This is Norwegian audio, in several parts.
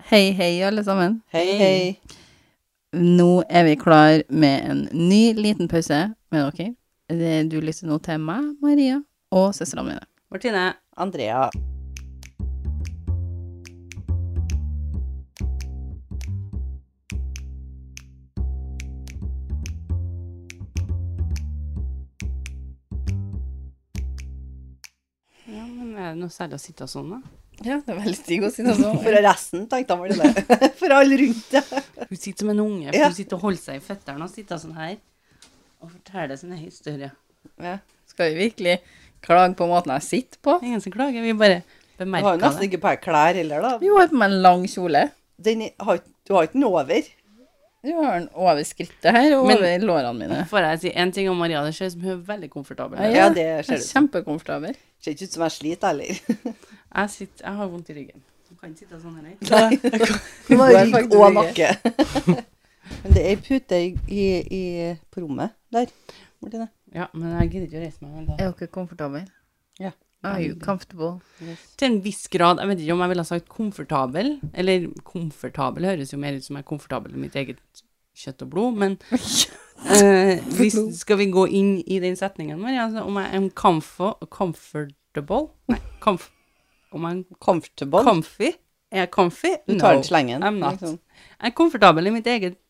Hei, hei, alle sammen. Hei. Nå er vi klar med en ny liten pause med dere. Det- Du lytter nå til meg, Maria, og søstrene mine. Martine. Andrea. Ja, men er det noe særlig å sitte sånn, da? Ja, det er veldig digg å si det sånn. For resten, tenkte han vel det. For alle rundt det. Hun sitter som en unge, for Ja. hun sitter og holder seg i føttene og sitter sånn her og forteller sine historier. Ja. Skal vi virkelig klage på måten jeg sitter på? Det er ingen som klager, vi bare Du har jo bemerker nesten det. ikke på deg klær heller, da. Jo, jeg har på meg en lang kjole. Den er- har, ikke- du har ikke den over. Du har den over skrittet her og Men- over lårene mine. Får jeg si en ting om Maria, det ser ut som hun er veldig komfortabel. med. Ja, det ser jeg er du. Kjempekomfortabel. Ser ikke ut som jeg sliter heller. Jeg, sitter, jeg har vondt i ryggen. Du kan ikke sitte sånn her. jeg. Nei. Du Det var går rygg faktisk ikke. og nakke. Men det er ei pute i, i, i, på rommet der. Martine. Ja, men jeg gidder ikke å reise meg. Men da. Er dere komfortable? Ja. Are you comfortable? Til en viss grad, jeg vet ikke om jeg ville ha sagt komfortabel, eller komfortabel høres jo mer ut som jeg er komfortabel med mitt eget kjøtt og blod, men eh, hvis, skal vi gå inn i den setningen vår, ja, altså, om jeg er comfo, comfortable? Nei, comf, om jeg Comfortable. er comfy? Er jeg comfy? du tar den slengen. I'm not. liksom. Jeg er komfortabel i mitt eget,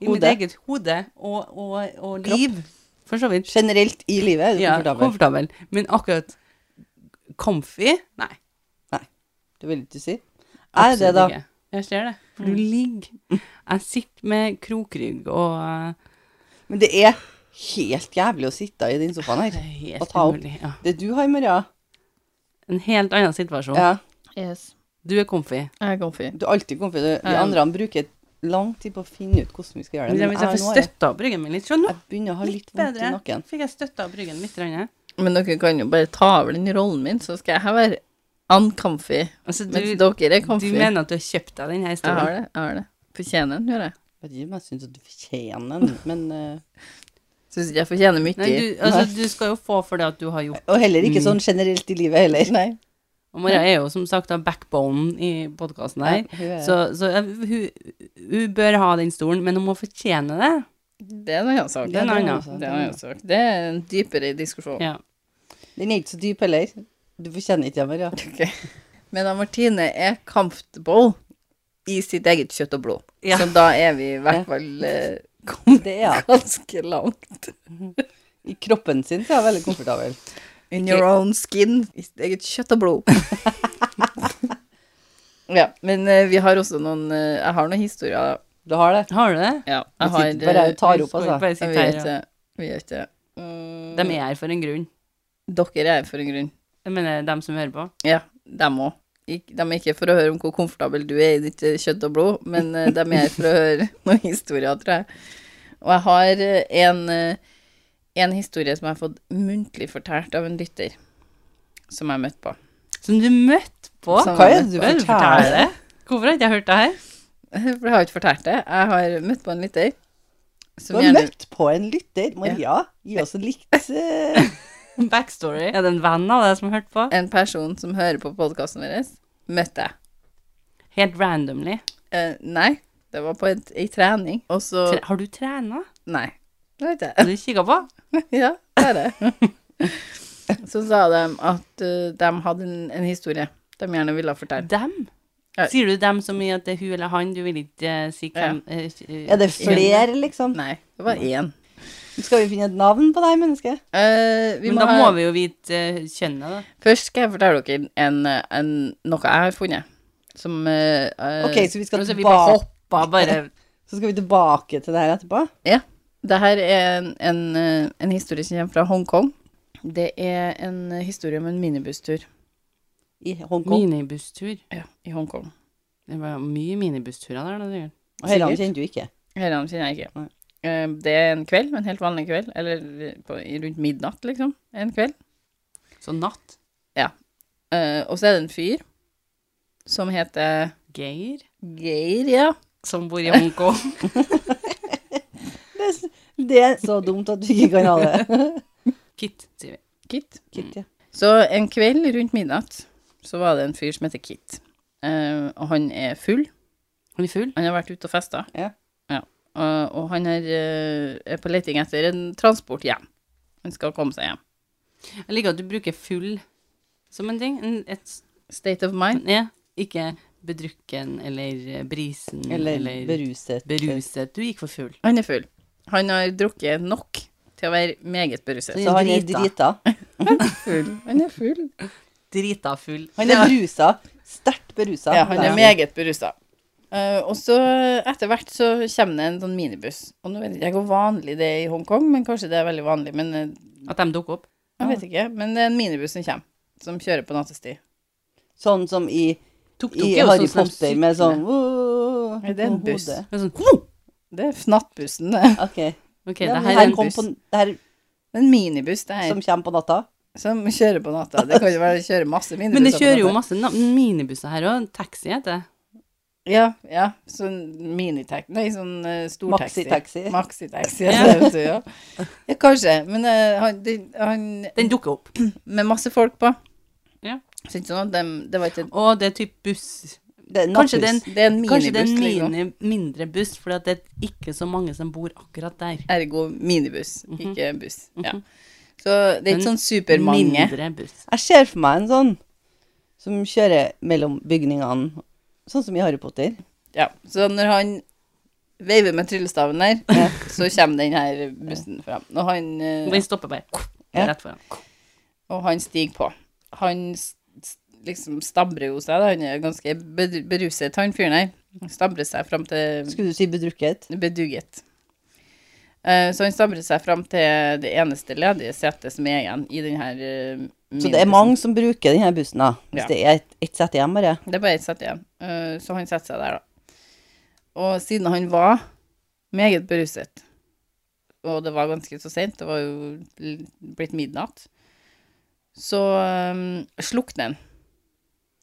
i mitt Hode. eget hode og, og, og liv, for så vidt. Generelt i livet er du Ja, komfortabel. komfortabel. Men akkurat comfy Nei. Det vil ikke du si. Er det, da? absolutt ikke. Jeg ser det. Mm. For du ligger Jeg sitter med krokrygg og eh, Men det er helt jævlig å sitte i den sofaen Det her. er Og helt ta opp. umulig. Ja. Det du har, Maria En helt annen situasjon. ja, Yes. Du er comfy. Jeg er comfy. Du er alltid komfortabel. De Ja. andre bruker lang tid på å finne ut hvordan vi skal gjøre Hvis det. jeg, hvis jeg jeg, får nå er jeg- støtta opp ryggen min litt Se nå! jeg begynner å ha litt Litt vondt i bedre. nakken. Fikk jeg støtta opp ryggen litt? grann, ja. Men dere kan jo bare ta over den rollen min, så skal jeg her være uncomfy. Altså, du, Mens dere er du comfy. mener at du har kjøpt deg Jeg denne har stolen? det. jeg har det. Fortjener den, gjør jeg. Jeg vet ikke om jeg syns at du fortjener den, men eh, Syns ikke jeg fortjener mye. Nei, du, altså, du skal jo få for det at du har gjort Og heller Mm. ikke sånn generelt i livet heller. Nei. Og Maria er jo som sagt da backbonen i podkasten her. Ja, hun er- Så, så eh, hun, hun bør ha den stolen, men hun må fortjene det. Det er en annen sak. Det er en annen. Det er en annen sak. Det er en dypere diskusjon. Ja. Den er ikke så dyp heller. Du fortjener ikke det, Maria. Men da Martine er comfortable i sitt eget kjøtt og blod, Ja. så da er vi i hvert fall eh, kommet Det er ganske langt. I kroppen sin så er jeg veldig komfortabel. In your own skin. I sitt eget kjøtt og blod. ja, men eh, vi har også noen eh, Jeg har noen historier. Du har det. Har du det? Ja, Jeg jeg har eh, sitter bare og tar opp, Skal vi altså. bare Jeg sitte vet her, det. Vi gjør ikke det. Mm, og- De er her for en grunn. Dere er for en grunn. Jeg mener dem som hører på. Ja, dem òg. De er ikke for å høre om hvor komfortabel du er i ditt eh, kjøtt og blod, men eh, de er for å høre noen historier, tror jeg. Og jeg har eh, en, eh, en historie som jeg har fått muntlig fortalt av en lytter, som jeg møtte på. Som du møtte på. Som Hva er det du Vel, forteller? det. Hvorfor har ikke jeg hørt det her? For jeg har ikke fortalt det. Jeg har møtt på en lytter. Du Som har gjerne- møtt på en lytter. Maria, gi oss en likt eh, Backstory. Er det en venn av deg som hørte på? En person som hører på podkasten vår, møtte jeg. Helt randomly. Eh, nei, det var på en, ei trening, og så Tre har du trena? Nei. Det vet jeg. Har du kikka på? Ja, det er det. Så sa de at eh, de hadde en, en historie de gjerne ville fortelle. Dem? Ja. Sier du dem så mye at det er hun eller han? Du vil ikke eh, si hvem eh, eh, Er det flere, liksom? Nei, det var én. Skal vi finne et navn på deg, menneske? Eh, vi Men må da må ha, vi jo vite eh, kjønnet, da. Først skal jeg fortelle dere en, en, noe jeg har funnet. Som eh, eh, OK, så vi skal Altså, vi bare tilbake, hoppa bare så skal vi tilbake til det her etterpå? Ja. Det her er en, en, eh, en historie som kommer fra Hongkong. Det er en historie om en minibusstur I Hongkong. Minibusstur. ja, i Hongkong. Det var mye minibussturer der. da, sikkert. Og Herran sikkert. kjenner du ikke. Herrene kjenner jeg ikke. Nei. Eh, Det er en kveld, en helt vanlig kveld. Eller på, rundt midnatt, liksom. En kveld. Så natt. Eh, og så er det en fyr som heter Geir, Geir, ja. som bor i Hongkong. Det, er s- det er så dumt at du ikke kan ha det. Kit, sier vi. Kit. Kitt, ja. Så en kveld rundt midnatt så var det en fyr som heter Kit. Eh, og han er full. Han er full? Han har vært ute og festa. Ja. Og, og han er, eh, er på leting etter en transport hjem. Han skal komme seg hjem. Jeg liker at du bruker full som en ting. En, et, State of mind. ja, ikke bedrukken eller eh, brisen Eller, eller beruset. beruset. Du gikk for full. Han er full. Han har drukket nok til å være meget beruset. Så han er Drita. drita. Han er full. Drita full. Han er rusa. Sterkt berusa. Ja, han er meget berusa. Eh, og så etter hvert så kommer det en sånn minibuss. Og nå vet ikke jeg hvor vanlig det er i Hongkong, men kanskje det er veldig vanlig. Men eh, At de dukker opp. jeg vet ikke. Men det er en minibuss som kommer, som kjører på nattestid. Sånn som i, Tuk-tuk i er jo Harry sånn som Potter med sånn sykler. Er det en på buss? hodet. Med sånn «Wow!» Det er fnattbussen. det. Ok. OK, Ja, det men her er en kom buss. På, det her Det er en minibuss det her, som kommer på natta. som kjører på natta. Det kan jo være det kjører masse minibusser. Men det på kjører jo natta. masse na- minibusser her òg. Taxi heter det. Ja, ja. Sånn minitaxi Nei, sånn eh, stor taxi. Maxitaxi. Maxitaxi. Ja. det vet du, ja. ja, kanskje. Men eh, han, det- han Den dukker opp. Med masse folk på. Ja. Så ikke sånn at dem- det var ikke Og det er typ buss. Det er Kanskje nattbuss. den Det er en Kanskje det er minibuss, en liksom. mini, mindre buss, for det er ikke så mange som bor akkurat der. Ergo minibuss, ikke buss. Ja. Så det er ikke Mhm. Men sånn supermange. Mindre buss. Jeg ser for meg en sånn som kjører mellom bygningene, sånn som i Harry Potter. Ja. Så når han veiver med tryllestaven der, så kommer den her bussen fram. Og han, Og eh, Den stopper bare Ja. rett foran. og han stiger på. Han s- s- liksom stabrer jo seg, da. han er ganske bed- beruset, han fyren her. Han Stabrer seg fram til Skulle du si bedrukket? beduget. Eh, Så han stabrer seg fram til det eneste ledige setet som er igjen i den her eh, Så det er minibussen. mange som bruker denne bussen, da. Hvis Ja. det er ett et sett igjen, bare. Det er bare ett sett igjen. Eh, Så han setter seg der, da. Og siden han var meget beruset, og det var ganske så seint, det var jo l- blitt midnatt, så um, slukner han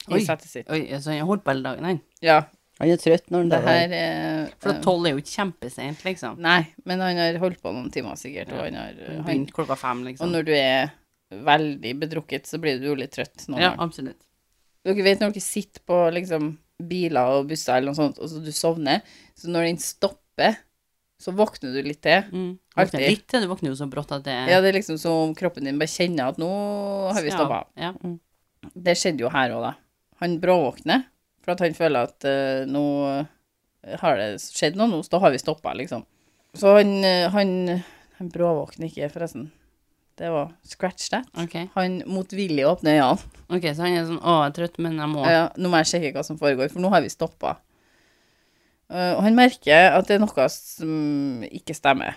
i Oi. setet sitt. Oi, altså, jeg holdt på hele dagen, han. Ja, Han er trøtt når han det drar. her er For at eh, tolv er jo ikke kjempeseint, liksom. Nei, men han har holdt på noen timer sikkert, og Ja. han har han, Den Begynte klokka fem, Og liksom. når du er veldig bedrukket, så blir du jo litt trøtt noen Ja, ganger. absolutt. Dere vet når dere sitter på liksom, biler og busser eller noe sånt, og så du sovner, så når den stopper, så våkner du litt til. Mm. Du Artig. Våkner litt til, du våkner jo så brått at det Ja, det er liksom som om kroppen din bare kjenner at nå har vi stoppa. Ja. ja. Det skjedde jo her òg, da. Han bråvåkner, for at han føler at eh, nå eh, har det skjedd noe, nå sto- har vi stoppa, liksom. Så han, eh, han, han bråvåkner ikke, forresten. Det var scratch that. Ok. Han motvillig åpner øynene. ok, så han er sånn Å, jeg er trøtt, men jeg må Ja, nå må jeg sjekke hva som foregår, for nå har vi stoppa. og han merker at det er noe som ikke stemmer.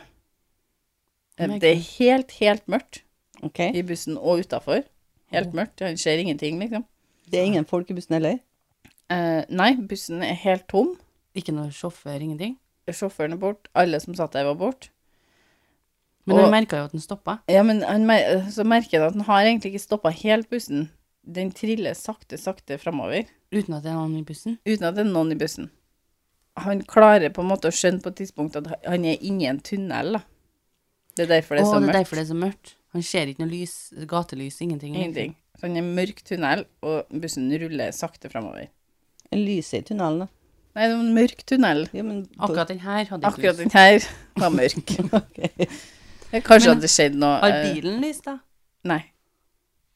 Eh, Merker. Det er helt, helt mørkt Ok. i bussen og utafor. Helt mørkt. Han ser ingenting, liksom. Det er ingen folk i bussen heller. Eh, nei, bussen er helt tom. Ikke noe sjåfør, ingenting. Sjåføren er borte. Alle som satt der, var borte. Men Og- han merka jo at den stoppa. Ja, men han, mer- eh, så merker han at han har egentlig ikke stoppa helt bussen. Den triller sakte, sakte framover. Uten at det er noen i bussen. uten at det er noen i bussen. Han klarer på en måte å skjønne på et tidspunkt at han er inni en tunnel. Da. Det er derfor Å, det er så det er mørkt. derfor det er så mørkt. Han ser ikke noe lys, gatelys, ingenting. Ingenting. Så han er i en mørk tunnel, og bussen ruller sakte framover. Lyset i tunnelen, da. Nei, det var en mørk tunnel. Ja, men Akkurat den her hadde ikke Akkurat lys. den her var mørk. Ok. Det Kanskje Men- hadde skjedd noe Har eh, bilen lys, da? Nei,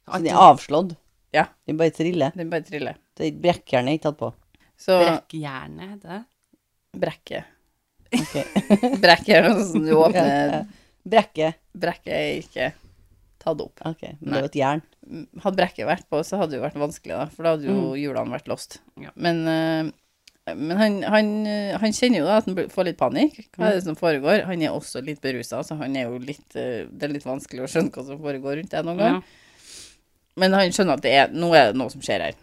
Så Alt den er avslått. Ja. Den bare triller. den bare triller. Det er Brekkjernet er ikke tatt på. Så Brekkjernet heter det. brekket. Ok. Brekket er noe som du åpner. Brekke. Brekket er ikke tatt opp. Ok, men det er jo et jern. hadde brekket vært på, så hadde det jo vært vanskelig, da, for da hadde jo hjulene vært lost. Mm. Ja. Men, eh, men han, han, eh, han kjenner jo da at han blir- får litt panikk. Hva Mm. er det som foregår? Han er også litt berusa, så han er jo litt, eh, det er litt vanskelig å skjønne hva som foregår rundt deg noen gang. Ja. Men han skjønner at det er, nå er det noe som skjer her.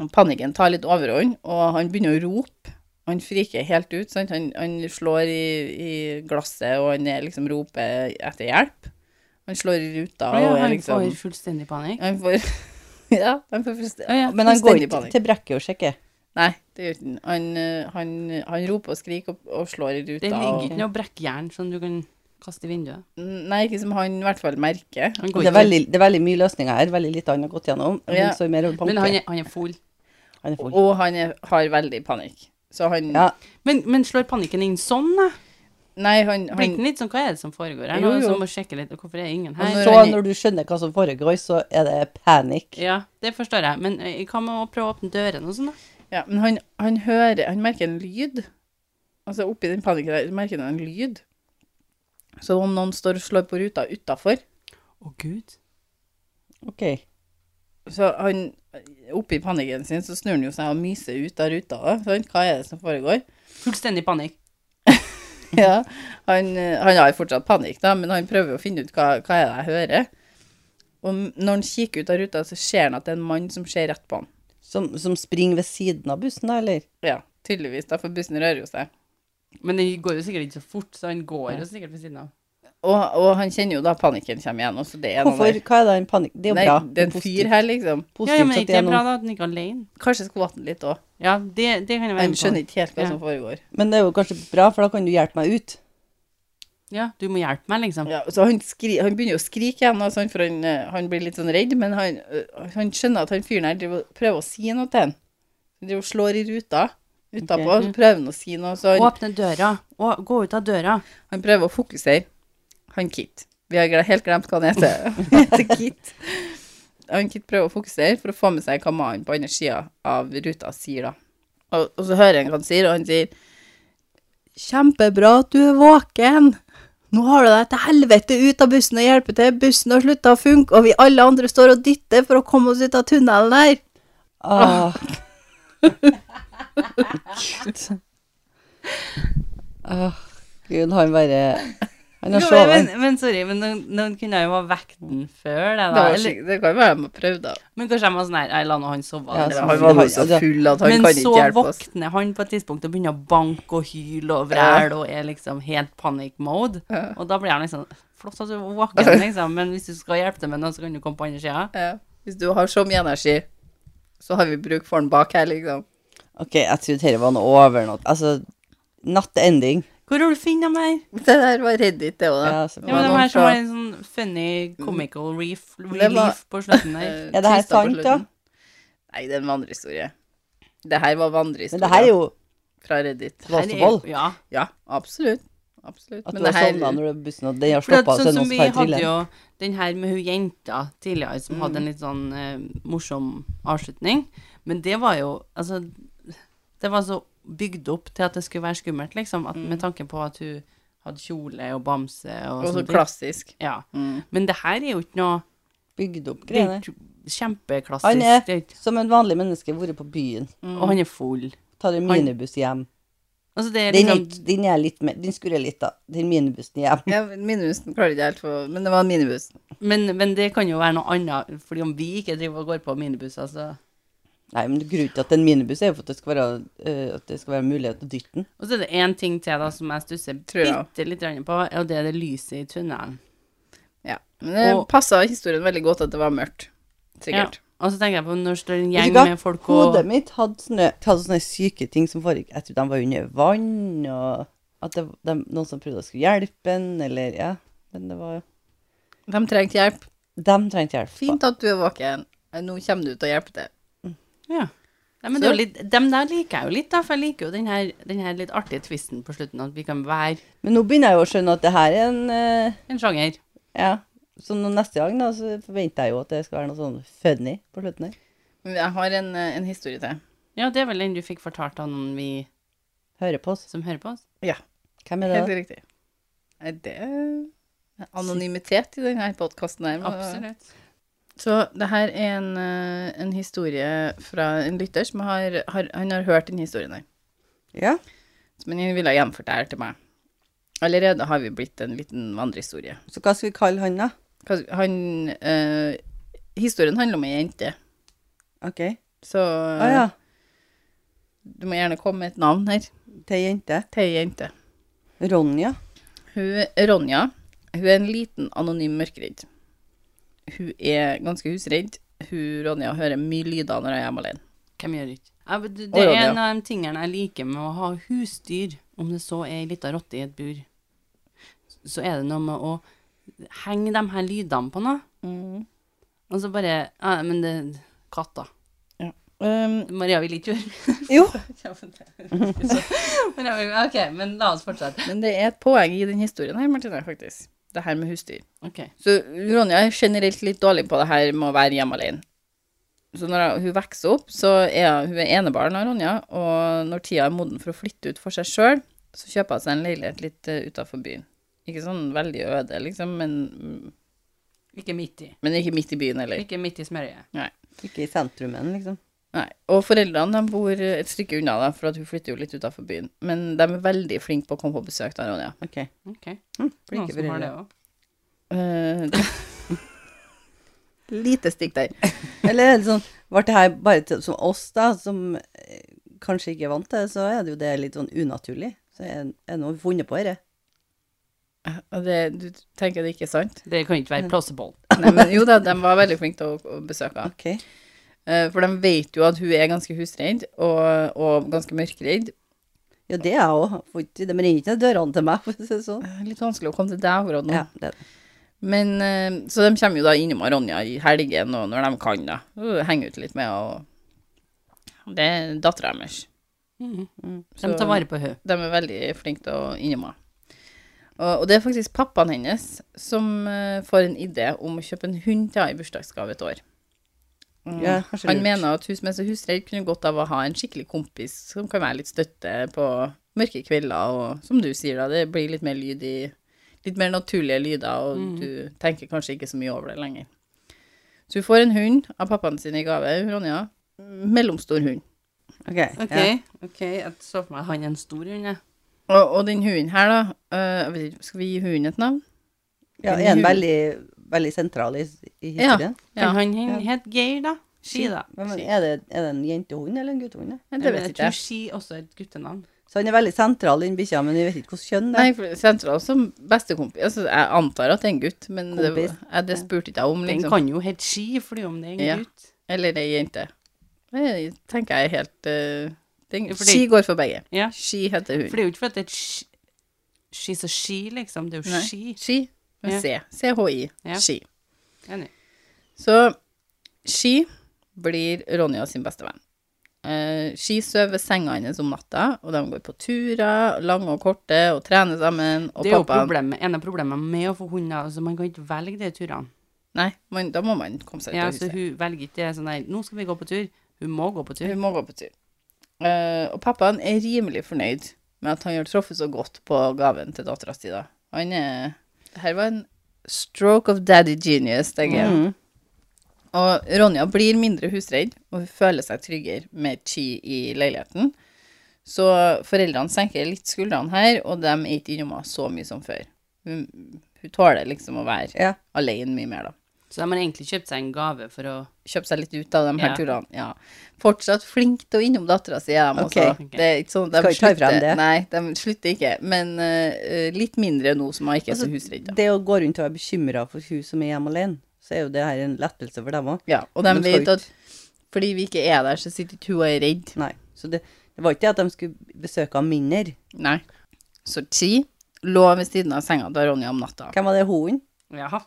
Og Panikken tar litt overhånd, og han begynner å rope. Han friker helt ut. Sant? Han, han slår i, i glasset, og han er, liksom roper etter hjelp. Han slår i ruta. Ja, og er han liksom, får fullstendig panikk. han får Ja, han får fullstendig Ja, ja. Men han går Fullstendig ikke panikk. til brekket og sjekker. Nei, det gjør ikke han. Han, eh, han. han roper og skriker og, og slår i ruta. Det ligger ikke og, noe brekkjern som du kan kaste i vinduet. Nei, ikke som han i hvert fall merker. Han går Det er, ikke. veldig, det er veldig mye løsninger her. Veldig lite han har gått gjennom. Ja. Men så er det mer å banke. Men han er, han er full. Han er full. Og han er, har veldig panikk. Så han Ja. Men, men slår panikken inn sånn, da? Nei, han, Blir han den litt sånn, hva er det som foregår her? Jo, Jo, jo. jo. Som å sjekke litt, og hvorfor er ingen Og her? når så, han- når du skjønner hva som foregår, så er det panikk. Ja, det forstår jeg. Men eh, hva med å prøve å åpne dørene og sånn, da? Ja, men han, han hører Han merker en lyd. Altså oppi den panikken der merker han en lyd. Så om noen står og slår på ruta utafor Å, gud. Ok. Så han oppi panikken sin så snur han jo seg og myser ut av ruta. da, sant? Hva er det som foregår? Fullstendig panikk. Ja, han, eh, han har jo fortsatt panikk, da, men han prøver å finne ut hva, hva er det jeg hører. Og når han kikker ut av ruta, så ser han at det er en mann som ser rett på han. Som, som springer ved siden av bussen, da, eller? Ja, tydeligvis, da, for bussen rører jo seg. Men den går jo sikkert ikke så fort, så han går jo sikkert ved siden av. Og, og han kjenner jo da panikken kommer igjen. og så det er noe Hvorfor? der. Hva er det en panikk? Det er jo Nei, bra. det er en positivt. fyr her, liksom. Ja, Positivt ja, men at ikke det det er er noen- bra da at den ikke er alene. Kanskje skvatt han litt òg. Ja, det, det kan jeg være Han med på. skjønner ikke helt hva Ja. som foregår. Men det er jo kanskje bra, for da kan du hjelpe meg ut. Ja, du må hjelpe meg, liksom. Ja, så han, skri, han begynner å skrike igjen, altså, for han, eh, han blir litt sånn redd, men han, eh, han skjønner at han fyren her driver, og prøver å si noe til han. Han driver og slår i ruta utapå, Ok. så prøver han å si noe, så han, Åpne døra. Å, gå ut av døra. han prøver å fokusere. Han Kit. Vi har gle- helt glemt hva han heter. Han heter Kit. Han Kit prøver å fokusere for å få med seg hva mannen på andre sida av ruta sier, da. Og, og så hører han hva han sier, og han sier Kjempebra at du er våken. Nå har du deg til helvete ut av bussen og hjelper til. Bussen har slutta å funke, og vi alle andre står og dytter for å komme oss ut av tunnelen her. Ah. Gud. Ah, Gud, han bare Han har Jo, men, sovet. men, men sorry, men noen, noen kunne jo ha vekt den før det, Det, da. var Eller, sikkert- det kan jo være de har prøvd, da. men kanskje jeg må sånn her, jeg la nå han sove. Ja, eller sånn. hva. Han var jo så full at han men kan så ikke hjelpe oss. våkner han på et tidspunkt og begynner å banke og hyle og vræle og er liksom helt panic mode. Ja. Og da blir han liksom Flott at du er våken, liksom, men hvis du skal hjelpe til med noe, så kan du komme på andre sida. Ja. Hvis du har så mye energi, så har vi bruk for den bak her, liksom. Ok, jeg trodde dette var noe over noe. Altså, not ending. Hvor har du funnet dem her? Det der var Reddit, det òg, da. Ja, Det Ja, men var de noen her som fra- har en sånn funny comical reef, var- relief på slutten der. eh, Er det her Tristad på sant, da? slutten. Nei, det er en vandrehistorie. Det her var Men det her er vandrehistorie jo fra Reddit. Her er- Vasevold. Ja. Ja, absolutt. Absolutt. At sånn Men du har det her sovna når du er bussen, og den har For at, stoppa, så er sånn det som noen vi som har hadde trillet. jo den her med hun jenta tidligere, som hadde en litt sånn eh, morsom avslutning. Men det var jo Altså, det var så bygd opp til at det skulle være skummelt, liksom. At, Med tanke på at hun hadde kjole og bamse Og så og, sånn sånne ting. klassisk. Ja. Mm. Men det her er jo ikke noe Bygd opp Det er greiene. jo ikke kjempeklassisk. Han er- det er ikke- Som en vanlig menneske vært på byen. Og han er full. Tar en Han- minibuss hjem. Altså, det er Den, liksom er, den er litt mer Den skurrer litt, da. Den minibussen hjem. Ja, men Minibussen klarer ikke helt for Men det var en minibuss. Men, men det kan jo være noe annet, fordi om vi ikke driver og går på minibusser, så Nei, men grunnen til at det er en minibuss, er jo for at det skal være, eh, at det skal være mulighet til å dytte den. Og så er det én ting til da som jeg stusser Tror jeg. bitte litt grann på, og det er det lyset i tunnelen. Ja. Men det Og- passa historien veldig godt at det var mørkt. Sikkert. Og så tenker jeg på når det står en Vet du gjeng hva? med folk og Hodet mitt hadde sånne, hadde sånne syke ting som foregikk. Jeg trodde de var under vann, og at det, de, noen som prøvde å skulle hjelpe en, eller Ja. Men det var De trengte hjelp. De trengte hjelp. Fint at du er våken. Nå kommer du til å hjelpe til. Ja. Nei, men det er jo litt, dem der liker jeg jo litt, da, for jeg liker jo den her, den her litt artige twisten på slutten, at vi kan være Men nå begynner jeg jo å skjønne at det her er en eh, en sjanger. Ja. Så nå neste gang da, så forventer jeg jo at det skal være noe sånn funny på slutten her. Men jeg har en, eh, en historie til. Ja, det er vel den du fikk fortalt av noen vi Høre på oss. som hører på oss? Hvem er det? Helt da? riktig. Er det er anonymitet i denne podkasten her? men- Absolutt. Så det her er en, eh, en historie fra en lytter som har, har, han har hørt den historien her. Ja. Men han ville gjenfortelle til meg. Allerede har vi blitt en liten vandrehistorie. Så hva skal vi kalle han, da? Hva- Han, eh, historien handler om ei jente, OK. Å så ja. du må gjerne komme med et navn her Til ei jente. til ei jente. Ronja. Hun, Ronja, hun er en liten, anonym mørkeredd. Hun er ganske husredd. Hun, Ronja hører mye lyder når hun er hjemme alene. Hvem gjør ikke? Ja, men det Å, ja, det er det, ja. en av de tingene jeg liker med å ha husdyr, om det så er ei lita rotte i et bur. Så er det noe med å henge de Mm. her lydene på noe. Og så bare Ja, men det Katter. Ja. Um, Maria vil ikke gjøre jo, Ja, men det- Men jeg vil- OK, men la oss fortsette. Men det er et poeng i den historien her, Martine, faktisk. Det her med husdyr. Ok. Så Ronja er generelt litt dårlig på det her med å være hjemme alene. Så når hun vokser opp, så er hun er enebarn av Ronja, og når tida er moden for å flytte ut for seg sjøl, så kjøper hun seg en leilighet litt utafor byen. Ikke sånn veldig øde, liksom, men, Ikke midt i. men ikke midt i byen heller. Ikke midt i smørøyet. ikke i sentrumen, liksom. Nei. Og foreldrene de bor et stykke unna, da, for at hun flytter jo litt utafor byen. Men de er veldig flinke på å komme på besøk til Ronja. Ok. Ok. Hm, Noen flinke som har det foreldre. òg. Eh, Lite stikk der. Eller er det sånn, ble det her bare til, som oss da, som eh, kanskje ikke er vant til det, så er det jo det litt sånn unaturlig. Så er, er det noe vi funnet på dette? Og det, du tenker det ikke er sant? Det kan ikke være plausible. Nei, men jo da, de var veldig flinke til å, å besøke henne. Ok. Eh, For de vet jo at hun er ganske husredd og, og ganske mørkredd. Ja, det er jeg også. Får ikke- De ringer ikke til dørene til meg, for å si det sånn. Eh, Litt vanskelig å komme til deg akkurat nå. Ja, det er det. Men, eh, så de kommer jo da innom Ronja i helgen og når de kan, da. Hun Henger ut litt med henne. og Det er dattera deres. Mhm. Mm. Så- De tar vare på henne. De er veldig flinke til å innrømme. Og, og det er faktisk pappaen hennes som eh, får en idé om å kjøpe en hund til henne i bursdagsgave et år. Mm. Ja, kanskje Han lurt. mener at hun som er så husredd, kunne godt av å ha en skikkelig kompis som kan være litt støtte på mørke kvelder, og som du sier, da, det blir litt mer lyd i Litt mer naturlige lyder, og Mm. du tenker kanskje ikke så mye over det lenger. Så hun får en hund av pappaen sin i gave, Ronja. Mellomstor hund. Ok. OK, Ja. ok, jeg så for meg at han er en stor hund, jeg. Og, og den hunden her, da eh, jeg vet ikke, Skal vi gi hunden et navn? Ja, er den veldig, veldig sentral i, i Ja. historien? Ja. Kan han hen- het Geir, da? Ski, da. Men, men Ski. er, det, er det en jentehund eller en guttehund? ja? Nei, det vet jeg ikke tror jeg. Ski også er et guttenavn. Så han er veldig sentral, den bikkja, men vi vet ikke hvilket kjønn det Nei, er. for sentral som bestekompis altså, Jeg antar at det er en gutt, men det, Kompis. jeg, det spurte ikke jeg om, Den liksom. kan jo hete Ski, fordi om det er en Ja. gutt. Eller ei jente. Det tenker jeg er helt eh, den, Ja, fordi- Ski går for begge. Ja. Ski heter For hun. det er jo ikke fordi det er et ski, She's a she, liksom. Det er jo Nei. ski. Ski med C. C-h-i. Ja. Ski. Enig. Så Ski blir Ronja sin beste venn. Eh, Ski sover ved senga hennes om natta, og de går på turer, lange og korte, og trener sammen. Og Det er jo pappaen- problemet, en av problemene med å få hunder. Altså, man kan ikke velge de turene. Nei, man, da må man komme seg ut Ja, av så huset. hun velger ikke det sånn nei, nå skal vi gå på tur. Hun må gå på tur. Hun må gå på tur. Eh, og pappaen er rimelig fornøyd med at han har truffet så godt på gaven til dattera si. da. Han er Det her var en stroke of daddy genius, tenker jeg. Mhm. Og Ronja blir mindre husredd, og hun føler seg tryggere med Chi i leiligheten. Så foreldrene senker litt skuldrene her, og de er ikke innom henne så mye som før. Hun, hun tåler liksom å være Ja. alene mye mer, da. Så de har egentlig kjøpt seg en gave for å kjøpe seg litt ut av de her Ja. turene. Ja. Fortsatt flink til å innom dattera si, er de Ok. også. Det er ikke sånn, de Skal ikke ta slutter- frem det. Nei, de slutter ikke. Men eh, litt mindre nå som hun ikke er så Altså, husredd. da. Det å gå rundt og være bekymra for hun som er hjemme alene, så er jo det her en lettelse for dem òg. Ja, og de Men skal vet ikke- at fordi vi ikke er der, så sitter ikke hun og er redd. Nei. Så det, det var ikke det at de skulle besøke ham mindre. Nei. Så Chi lå ved siden av senga til Ronja om natta. Hvem var det hunden? Jaha.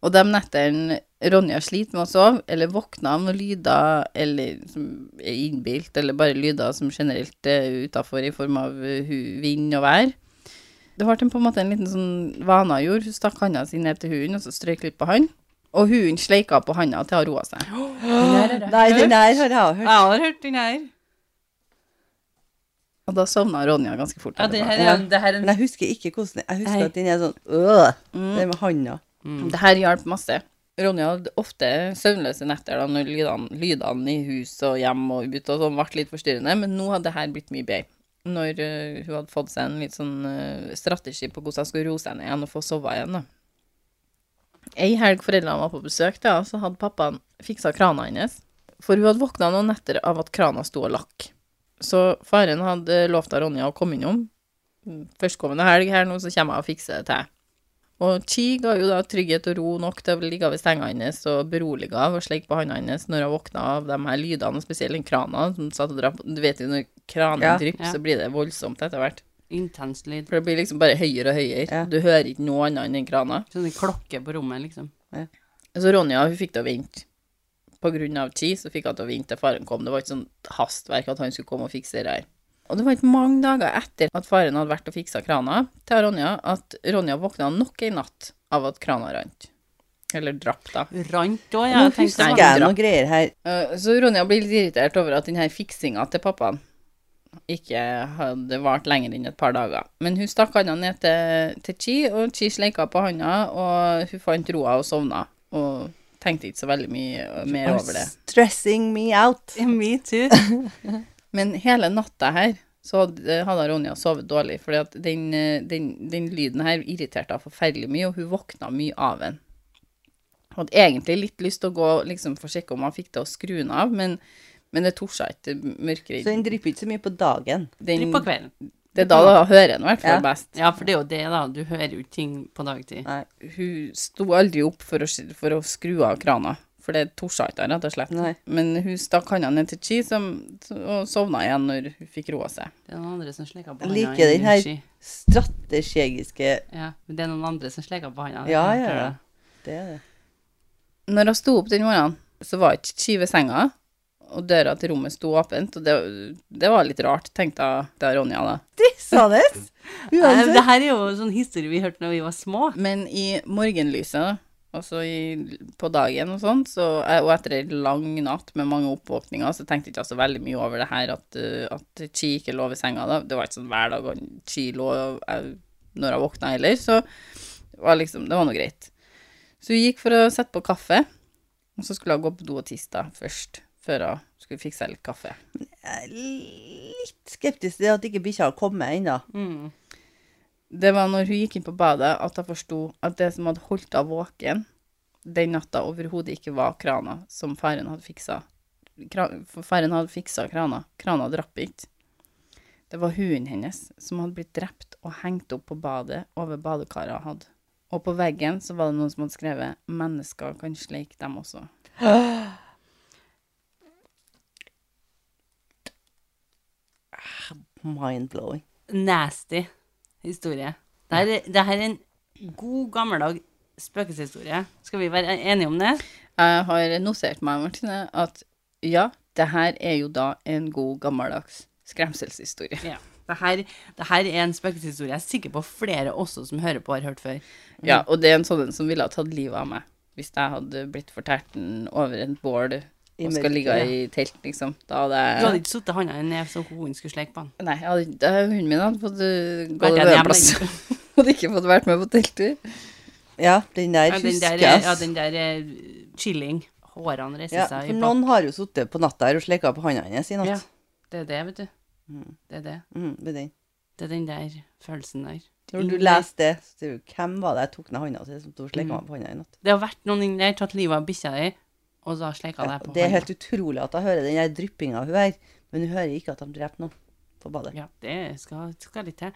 Og de nettene Ronja sliter med å sove, eller våkner av noen lyder eller som er innbilt, eller bare lyder som generelt er utafor i form av eh, hu- vind og vær. Det ble en- på en måte en liten sånn vane hun gjorde. Hun stakk handa si ned til hunden og så strøk litt på han. Og hunden sleika på handa til hun roa seg. Nei, den der har jeg også hørt. Jeg har hørt den her. Og da sovna Ronja ganske fort. Ja, det etterpå. her er, det her er Men jeg husker ikke hvordan Jeg husker Nei. at den er sånn øh, Den med handa. Mm. Mm, Det her hjalp masse. Ronja hadde ofte søvnløse netter da når lydene, lydene i hus og hjem og ute og sånn ble litt forstyrrende, men nå hadde det her blitt mye bedre. Når eh, hun hadde fått seg en litt sånn eh, strategi på hvordan hun skulle roe seg ned igjen og få sove igjen, da. Ei helg foreldrene var på besøk, da, så hadde pappaen fiksa krana hennes. For hun hadde våkna noen netter av at krana sto og lakk. Så faren hadde lovt av Ronja å komme innom. Førstkommende helg her nå, så kommer jeg og fikser det til. deg. Og Chi ga jo da trygghet og ro nok til å ligge ved senga hennes og berolige av og slikke på handa hennes når hun våkna av de her lydene, og spesielt den krana som satt og drapp. Du vet jo når kranen Ja, drypper, ja. så blir det voldsomt etter hvert. intens lyd. For det blir liksom bare høyere og høyere. Ja. Du hører ikke noe annet enn den krana. Sånn en klokke på rommet, liksom. Så Ronja, hun fikk det å vente på grunn av tid, så fikk han til å vente til faren kom. Det var ikke sånn hastverk at han skulle komme og fikse det her. Og det var ikke mange dager etter at faren hadde vært og fiksa krana til Ronja, at Ronja våkna nok en natt av at krana rant. Eller drapp, da. Rant òg, ja. Nå Jeg tenkte husker sånn. Skal jeg noe greier her? Eh, Så Ronja blir litt irritert over at denne fiksinga til pappaen ikke hadde vart lenger enn et par dager. Men hun stakk handa ned til, til Chi, og Chi sleika på handa, og hun fant roa og sovna. Og tenkte ikke så veldig mye eh, mer over det. Stressing me out. Me too. Men hele natta her så hadde eh, hadde Ronja sovet dårlig, fordi at den, eh, den, den lyden her irriterte henne forferdelig mye, og hun våkna mye av den. Hun hadde egentlig litt lyst til å gå liksom, for å sjekke om han fikk det å skru den av, men, men det torde seg ikke Så mørkeredd. den drypper ikke så mye på dagen. Den, På kvelden. det er da hun hører den i hvert fall Ja. best. Ja, for det er jo det, da. Du hører jo ikke ting på dagtid. Nei. Hun sto aldri opp for å, s- for å skru av krana, for det torde seg ikke, rett og slett. Nei. Men hun stakk handa ned til Chi, som og sovna igjen når hun fikk roa seg. Det er noen andre som sleker på Jeg handa. liker enn den her. Lucy. Strategiske Ja, men det er noen andre som sleker på handa. Ja, Jeg ja, tror ja. det. Det er det. Når hun sto opp den morgenen, så var ikke Chi ved senga, og døra til rommet sto åpent, og det, det var litt rart, tenkte jeg til Ronja da. Stressende! Nei, men Uansett. Det her er jo sånn historie vi hørte når vi var små. Men i morgenlyset, altså i, på dagen og sånn, så, og etter en lang natt med mange oppvåkninger, så tenkte jeg ikke så veldig mye over det her at, uh, at Chi ikke lå ved senga da. Det var ikke sånn hver dag han- Chi lå jeg, når jeg våkna heller, så det var liksom, det var noe greit. Så hun gikk for å sette på kaffe, og så skulle hun gå på do og tisse da først, før hun skulle fikse seg litt kaffe. Jeg er litt skeptisk til at ikke bikkja har kommet ennå. Det var når hun gikk inn på badet at jeg forsto at det som hadde holdt henne våken den natta, overhodet ikke var krana som faren hadde fiksa. Kra- for Faren hadde fiksa krana. Krana drapp ikke. Det var hunden hennes som hadde blitt drept og hengt opp på badet over badekaret hun hadde. Og på veggen så var det noen som hadde skrevet 'Mennesker kan sleike dem også'. Mind-blowing. Nasty historie. Det her, er- det her er en god, gammeldag spøkelseshistorie. Skal vi være enige om det? Jeg har notert meg, Martine, at ja, det her er jo da en god, gammeldags skremselshistorie. Ja. Det her, det her er en spøkelseshistorie jeg er sikker på flere også som hører på, har hørt før. Mm. Ja, og det er en sånn en som ville ha tatt livet av meg hvis jeg hadde blitt fortært den over en bål I og skal mørket, ligge i telt, liksom. Da hadde Du hadde jeg ikke sittet handa i ned så hunden skulle sleke på den. Nei, jeg hadde, da- hunden min hadde fått uh, gå Vært over alene en plass. Hadde ikke fått vært med på telttur. Ja, den der Ja, den husker der jeg. er, ja, ass. den der er chilling. Hårene reiser Ja, seg for i noen har jo sittet på natta her og sleka på hånda hennes i papp. natt. Ja, det er det, vet du. Det er det. Mm, med den. Det er den der følelsen der. Når du Inni- leser det, så sier du hvem var det jeg tok ned hånda til som sto og sleka Mm. meg på hånda i natt? Det har vært noen inni der, tatt livet av bikkja di, og så har sleka deg på Det er hånda. helt utrolig at jeg hører den der dryppinga hun her, men hun hører ikke at de dreper noen på badet. Ja, det skal, skal litt til.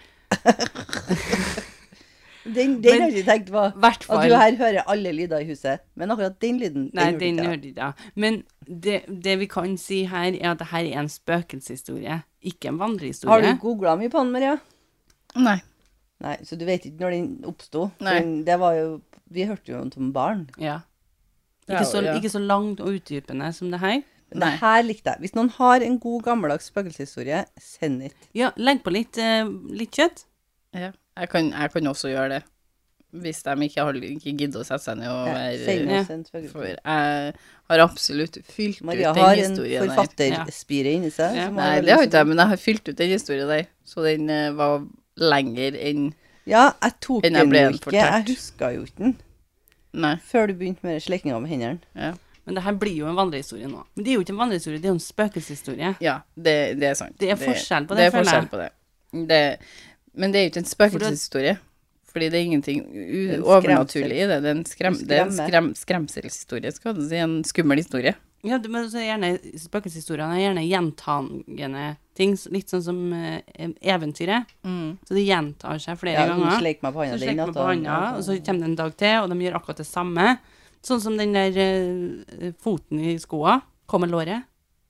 Den, den Men- har jeg ikke tenkt på. Hvert At fall. du her hører alle lyder i huset, men akkurat den lyden Nei, hørte den ikke jeg. hørte ikke jeg. Men det, det vi kan si her, er at det her er en spøkelseshistorie, ikke en vandrehistorie. Har du googla mye på den, Maria? Nei. Nei, så du vet ikke når den oppsto? For Nei. den- Det var jo Vi hørte jo om den som barn. Ja. Ja, Ikke så, ja. ikke så langt og utdypende som det her. Men Nei. det her likte jeg. Hvis noen har en god, gammeldags spøkelseshistorie, send it. Ja, legg på litt, eh, litt kjøtt. Ja. Jeg, kan, jeg kan også gjøre det. Hvis de ikke, har- ikke gidder å sette seg ned og Ja, Send være oss en For spøkelseshistorie. jeg har absolutt fylt Maria ut den har en historien der. forfatterspire inni seg. Ja. som Nei, har det har veldig- ikke jeg, men jeg har fylt ut den historien der. Så den eh, var lenger enn Ja, jeg tok Den den her jo ble ikke. Jeg fortært. huska jo ikke den Nei. før du begynte med slekinga med hendene. Ja, Men det her blir jo en vandrehistorie nå. Men det er jo ikke en vandrehistorie, det er jo en spøkelseshistorie. ja det, det er sant. Det er forskjell på det, det er føler jeg. forskjell på det. det. Men det er jo ikke en spøkelseshistorie. Fordi det er ingenting u- er en overnaturlig i det. Det er en, skrem, En det er en skremme. skrem, skremselshistorie, skal du si. En skummel historie. Ja, det- men så er gjerne spøkelseshistoriene er gjerne gjentagende ting, så- litt sånn som eh, eventyret. Så det gjentar seg flere Ja, hun ganger. sleik meg på handa Så den slekker man natta. på handa, og så kommer det en dag til, og de gjør akkurat det samme. Sånn som den der eh, foten i skoa. Kommer låret?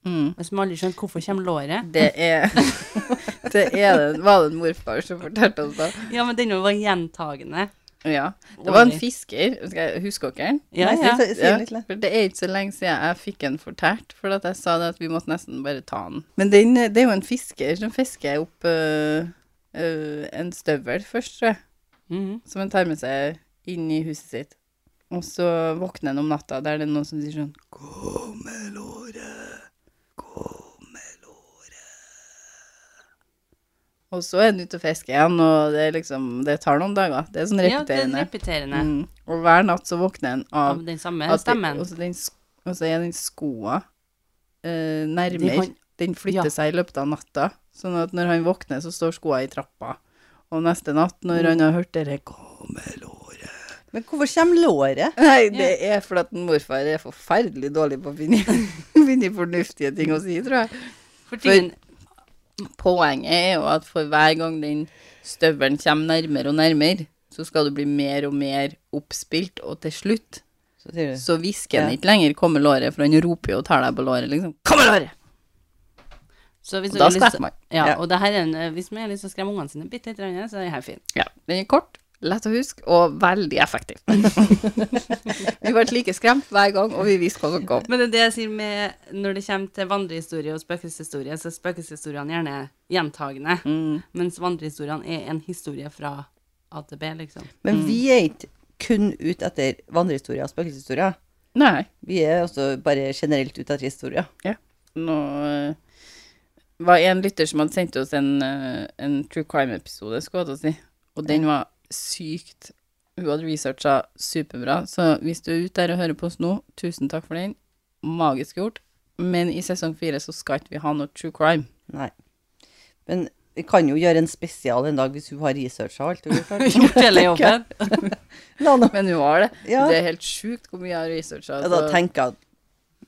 Mm. Hvis man aldri skjønte hvorfor kommer låret. Det er Det er det, var det en morfar som fortalte oss da. Ja, men denne var gjentagende. Ja. Det var en Årlig. fisker, skal jeg huske dere? Ja, Nei, ja. si- si- si Ja, litt, da. for det er ikke så lenge siden jeg fikk den fortært, for at jeg sa det at vi måtte nesten bare ta den. Men den, eh, det er jo en fisker som fisker opp øh, øh, en støvel først, tror jeg, Mhm. som han tar med seg inn i huset sitt. Og så våkner han om natta, der det er noen som sier sånn Kummelåre, kummelåre. Og så er han ute og fisker igjen, og det, er liksom, det tar noen dager. Det er sånn Ja, det er repeterende. repeterende. Mm. Og hver natt så våkner han av Av den samme at Eh, stemmen. Det, og, så den, sk- og så er den skoa eh, nærmere. De kan- den Ja. flytter seg i løpet av natta. Sånn at når han våkner, så står skoa i trappa. Og neste natt, når han har hørt det Kammelåret Men hvorfor kommer låret? Nei, det er fordi at en morfar er forferdelig dårlig på å finne, finne fornuftige ting å si, tror jeg. For tingen, Poenget er jo at for hver gang den støvelen kommer nærmere og nærmere, så skal du bli mer og mer oppspilt, og til slutt Så sier du så hvisker han Ja. ikke lenger 'kommer låret', for han roper jo og tar deg på låret, liksom. 'Kommer låret!' så hvis Og du da har lyst skvetter man. Ja, Ja. og det her er en, eh, hvis man har lyst til å skremme ungene sine bitte litt, så er det her fint. Ja. Den er kort, lett å huske og veldig effektiv. vi ble like skremt hver gang, og vi visste hva som kom. Men det er det jeg sier med når det kommer til vandrehistorie og spøkelseshistorie, så er spøkelseshistoriene gjerne gjentagende, Mm. mens vandrehistoriene er en historie fra A til B, liksom. Men vi er ikke kun ute etter vandrehistorier og spøkelseshistorier. Nei. Vi er også bare generelt ute etter historier. Nå eh, var en lytter som hadde sendt oss en, eh, en true crime-episode, skulle jeg til å si, og den var sykt Hun hadde researcha superbra, så hvis du er ute der og hører på oss nå, tusen takk for den. Magisk gjort. Men i sesong fire så skal ikke vi ha noe true crime. Nei. Men vi kan jo gjøre en spesial en dag hvis hun har researcha alt. hun har gjort, da. Gjort hele jobben. La nå- Men hun har det. Ja. Det er helt sjukt hvor mye jeg har researcha. Ja, da tenker jeg at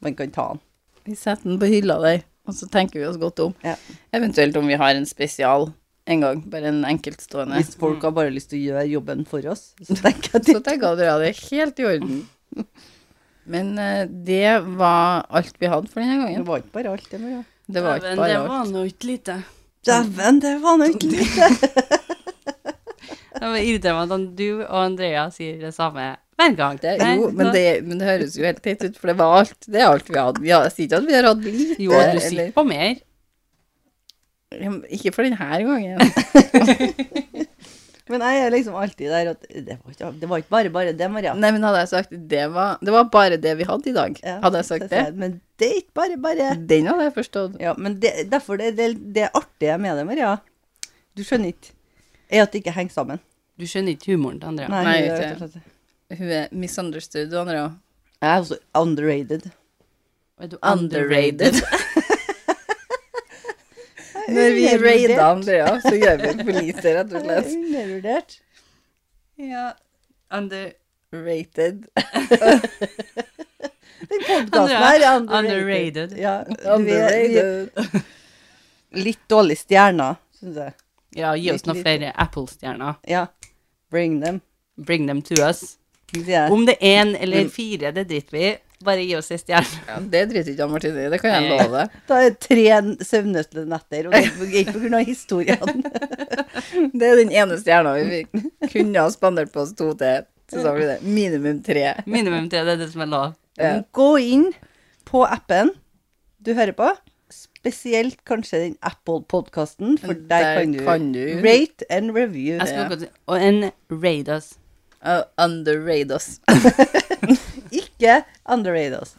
man kan ta den. Vi setter den på hylla der, og så tenker vi oss godt om. Ja. Eventuelt om vi har en spesial en gang, bare en enkeltstående. Hvis folk har bare lyst til å gjøre jobben for oss, så tenker jeg at Så tenker jeg at ja, det er helt i orden. Men eh, det var alt vi hadde for denne det gangen. var ikke bare alt. Det var, ja. Det var ikke Men bare det var alt. nå ikke lite. Dæven, det var nå ikke lite! Det var irriterende at du og Andrea sier det samme hver gang. Det, Nei, jo, men så- det, men det høres jo helt teit ut, for det var alt. Det er alt vi hadde. Ja, jeg sier ikke at vi har hatt lite. Jo, du eller- sitter på mer. Ja, men Ikke for denne gangen. Men jeg er liksom alltid der at det var ikke, det var ikke bare bare det, Maria. Nei, men hadde jeg sagt det var, det var bare det vi hadde i dag, Ja, hadde jeg sagt det, sier jeg, Men det er ikke bare bare. den hadde jeg forstått. Ja, men det, derfor det, det, det artige med det, Maria, du skjønner ikke, er at det ikke henger sammen. Du skjønner ikke humoren til Andrea. Nei, det er ikke. rett og slett- Hun er misunderstood, og andre også. Jeg er også underrated. Er du Underrated. underrated? Når vi Undervurdert. raider Andrea, så gjør vi for lite, rett og slett. Undervurdert. Ja. Under, Rated. Den podkasten Andrea, her er underrated. underrated. Ja, vi er- Underrated. vi er Litt dårlig stjerner, syns jeg. Ja, gi oss Litt noen lite. flere Apple-stjerner. Ja. Bring them. Bring them to us. sier jeg. Om det er én eller fire, det driter vi i. Bare gi oss en stjerne. Ja, det driter ikke jeg, Martine i, det kan jeg love deg. Da er det tre søvnløse netter, og det er ikke pga. historien. Det er den ene stjerna vi fikk. kunne ha spandert på oss to til. Så sa vi det. Minimum tre. Minimum tre, det er det som er lov. Ja. Gå inn på appen du hører på, spesielt kanskje den Apple-podkasten, for der, Der kan, du kan du- rate and review. Jeg skulle godt si Og en raid us. Uh, underrate oss. Ikke underrate oss.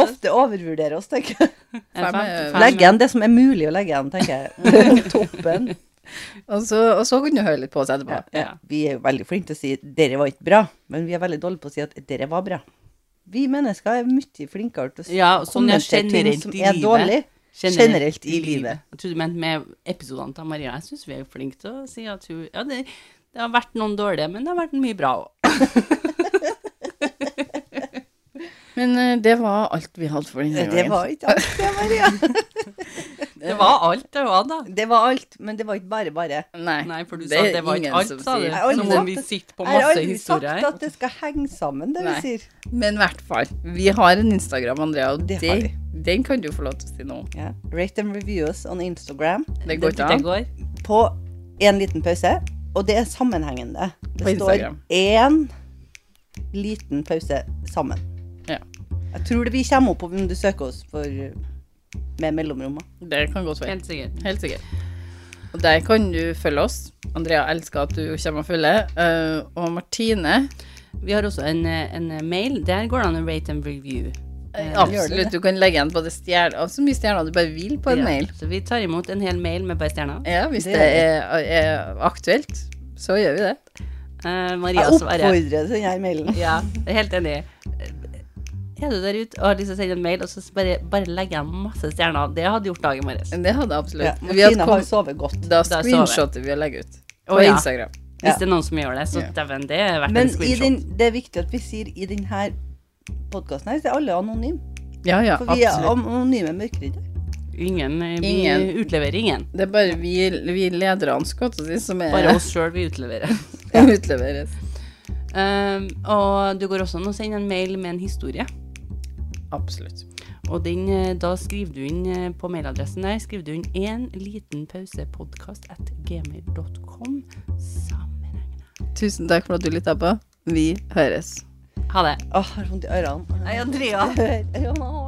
Ofte overvurdere oss, tenker jeg. Fem En fem- er- fem- Legg igjen det som er mulig å legge igjen, tenker jeg. Toppen. Og så, og så kunne du høre litt på oss etterpå. Ja. Vi er jo veldig flinke til å si 'dere var ikke bra', men vi er veldig dårlige på å si at 'dere var bra'. Vi mennesker er mye flinkere til å Ja, sånn ja, kommentere ting generelt som i er livet. dårlig. generelt i livet. Jeg trodde du mente med episodene til Maria. Jeg syns vi er flinke til å si at hun Ja, det, det har vært noen dårlige, men det har vært mye bra òg. Men eh, det var alt vi hadde for denne Det gangen. var ikke alt, det, Maria. Det var Eh. alt det var, da. Det var alt, men det var ikke bare bare. Nei, Nei, for du det sa er at det var ikke ingen alt, som sa du. sier. Jeg har aldri Som om sagt vi det. sitter på Jeg har masse aldri sagt historier. at det skal henge sammen, det Nei. vi sier. Men i hvert fall, vi har en Instagram, Andrea, og Det det har vi. den kan du få lov til å si nå. Ja. Rate and review us on Instagram Det går ikke Det an. går. på en liten pause, og det er sammenhengende. På Det står Instagram. én liten pause sammen. Ja. Jeg tror det vi kommer opp om du søker oss for med mellomrommet. Det kan godt være. Helt sikkert. Helt sikkert. Og der kan du følge oss. Andrea elsker at du kommer og følger. Eh, og Martine Vi har også en, eh, en eh, mail. Der går det an å rate and review. eh, Eh, gjør det, Absolutt, det. du kan legge igjen både stjerner og så mye stjerner du bare vil på en ja. mail. Eh, Så vi tar imot en hel mail med bare stjerner. Ja, hvis Det det, er, gjør er aktuelt, så gjør vi det. Eh, Jeg Maria svarer. oppfordrer til denne mailen. Ja, jeg er helt enig. Eh, Er du der ute og har lyst til å sende en mail, og så bare, bare legger jeg masse stjerner? Det hadde gjort dagen vår. Men Det hadde jeg Ja, absolutt. Vi hadde Martine kom- har sovet godt. da sover jeg. screenshotet vi og legger ut på Å, ja. Instagram. Ja. Hvis det er noen som gjør det, så Ja. dæven, det er verdt Men en i screenshot. den, det er viktig at vi sier i denne podkasten her, så er alle anonyme. Ja, ja, For vi er absolutt. anonyme mørkeridder. Ingen, eh, vi Ingen. utleverer ingen. Det er bare vi, vi lederne, skal jeg til å si, som er Bare oss sjøl vi utleverer. utleveres. Um, og du går også an å sende en mail med en historie. Absolutt. Og den, eh, da skriver du inn eh, på mailadressen der skriver du inn en liten pause podcast at gmail.com sammenhengende. Tusen takk for at du lytta på. Vi høres. Ha det. Åh, jeg har vondt i ørene. Andrea. Ørene.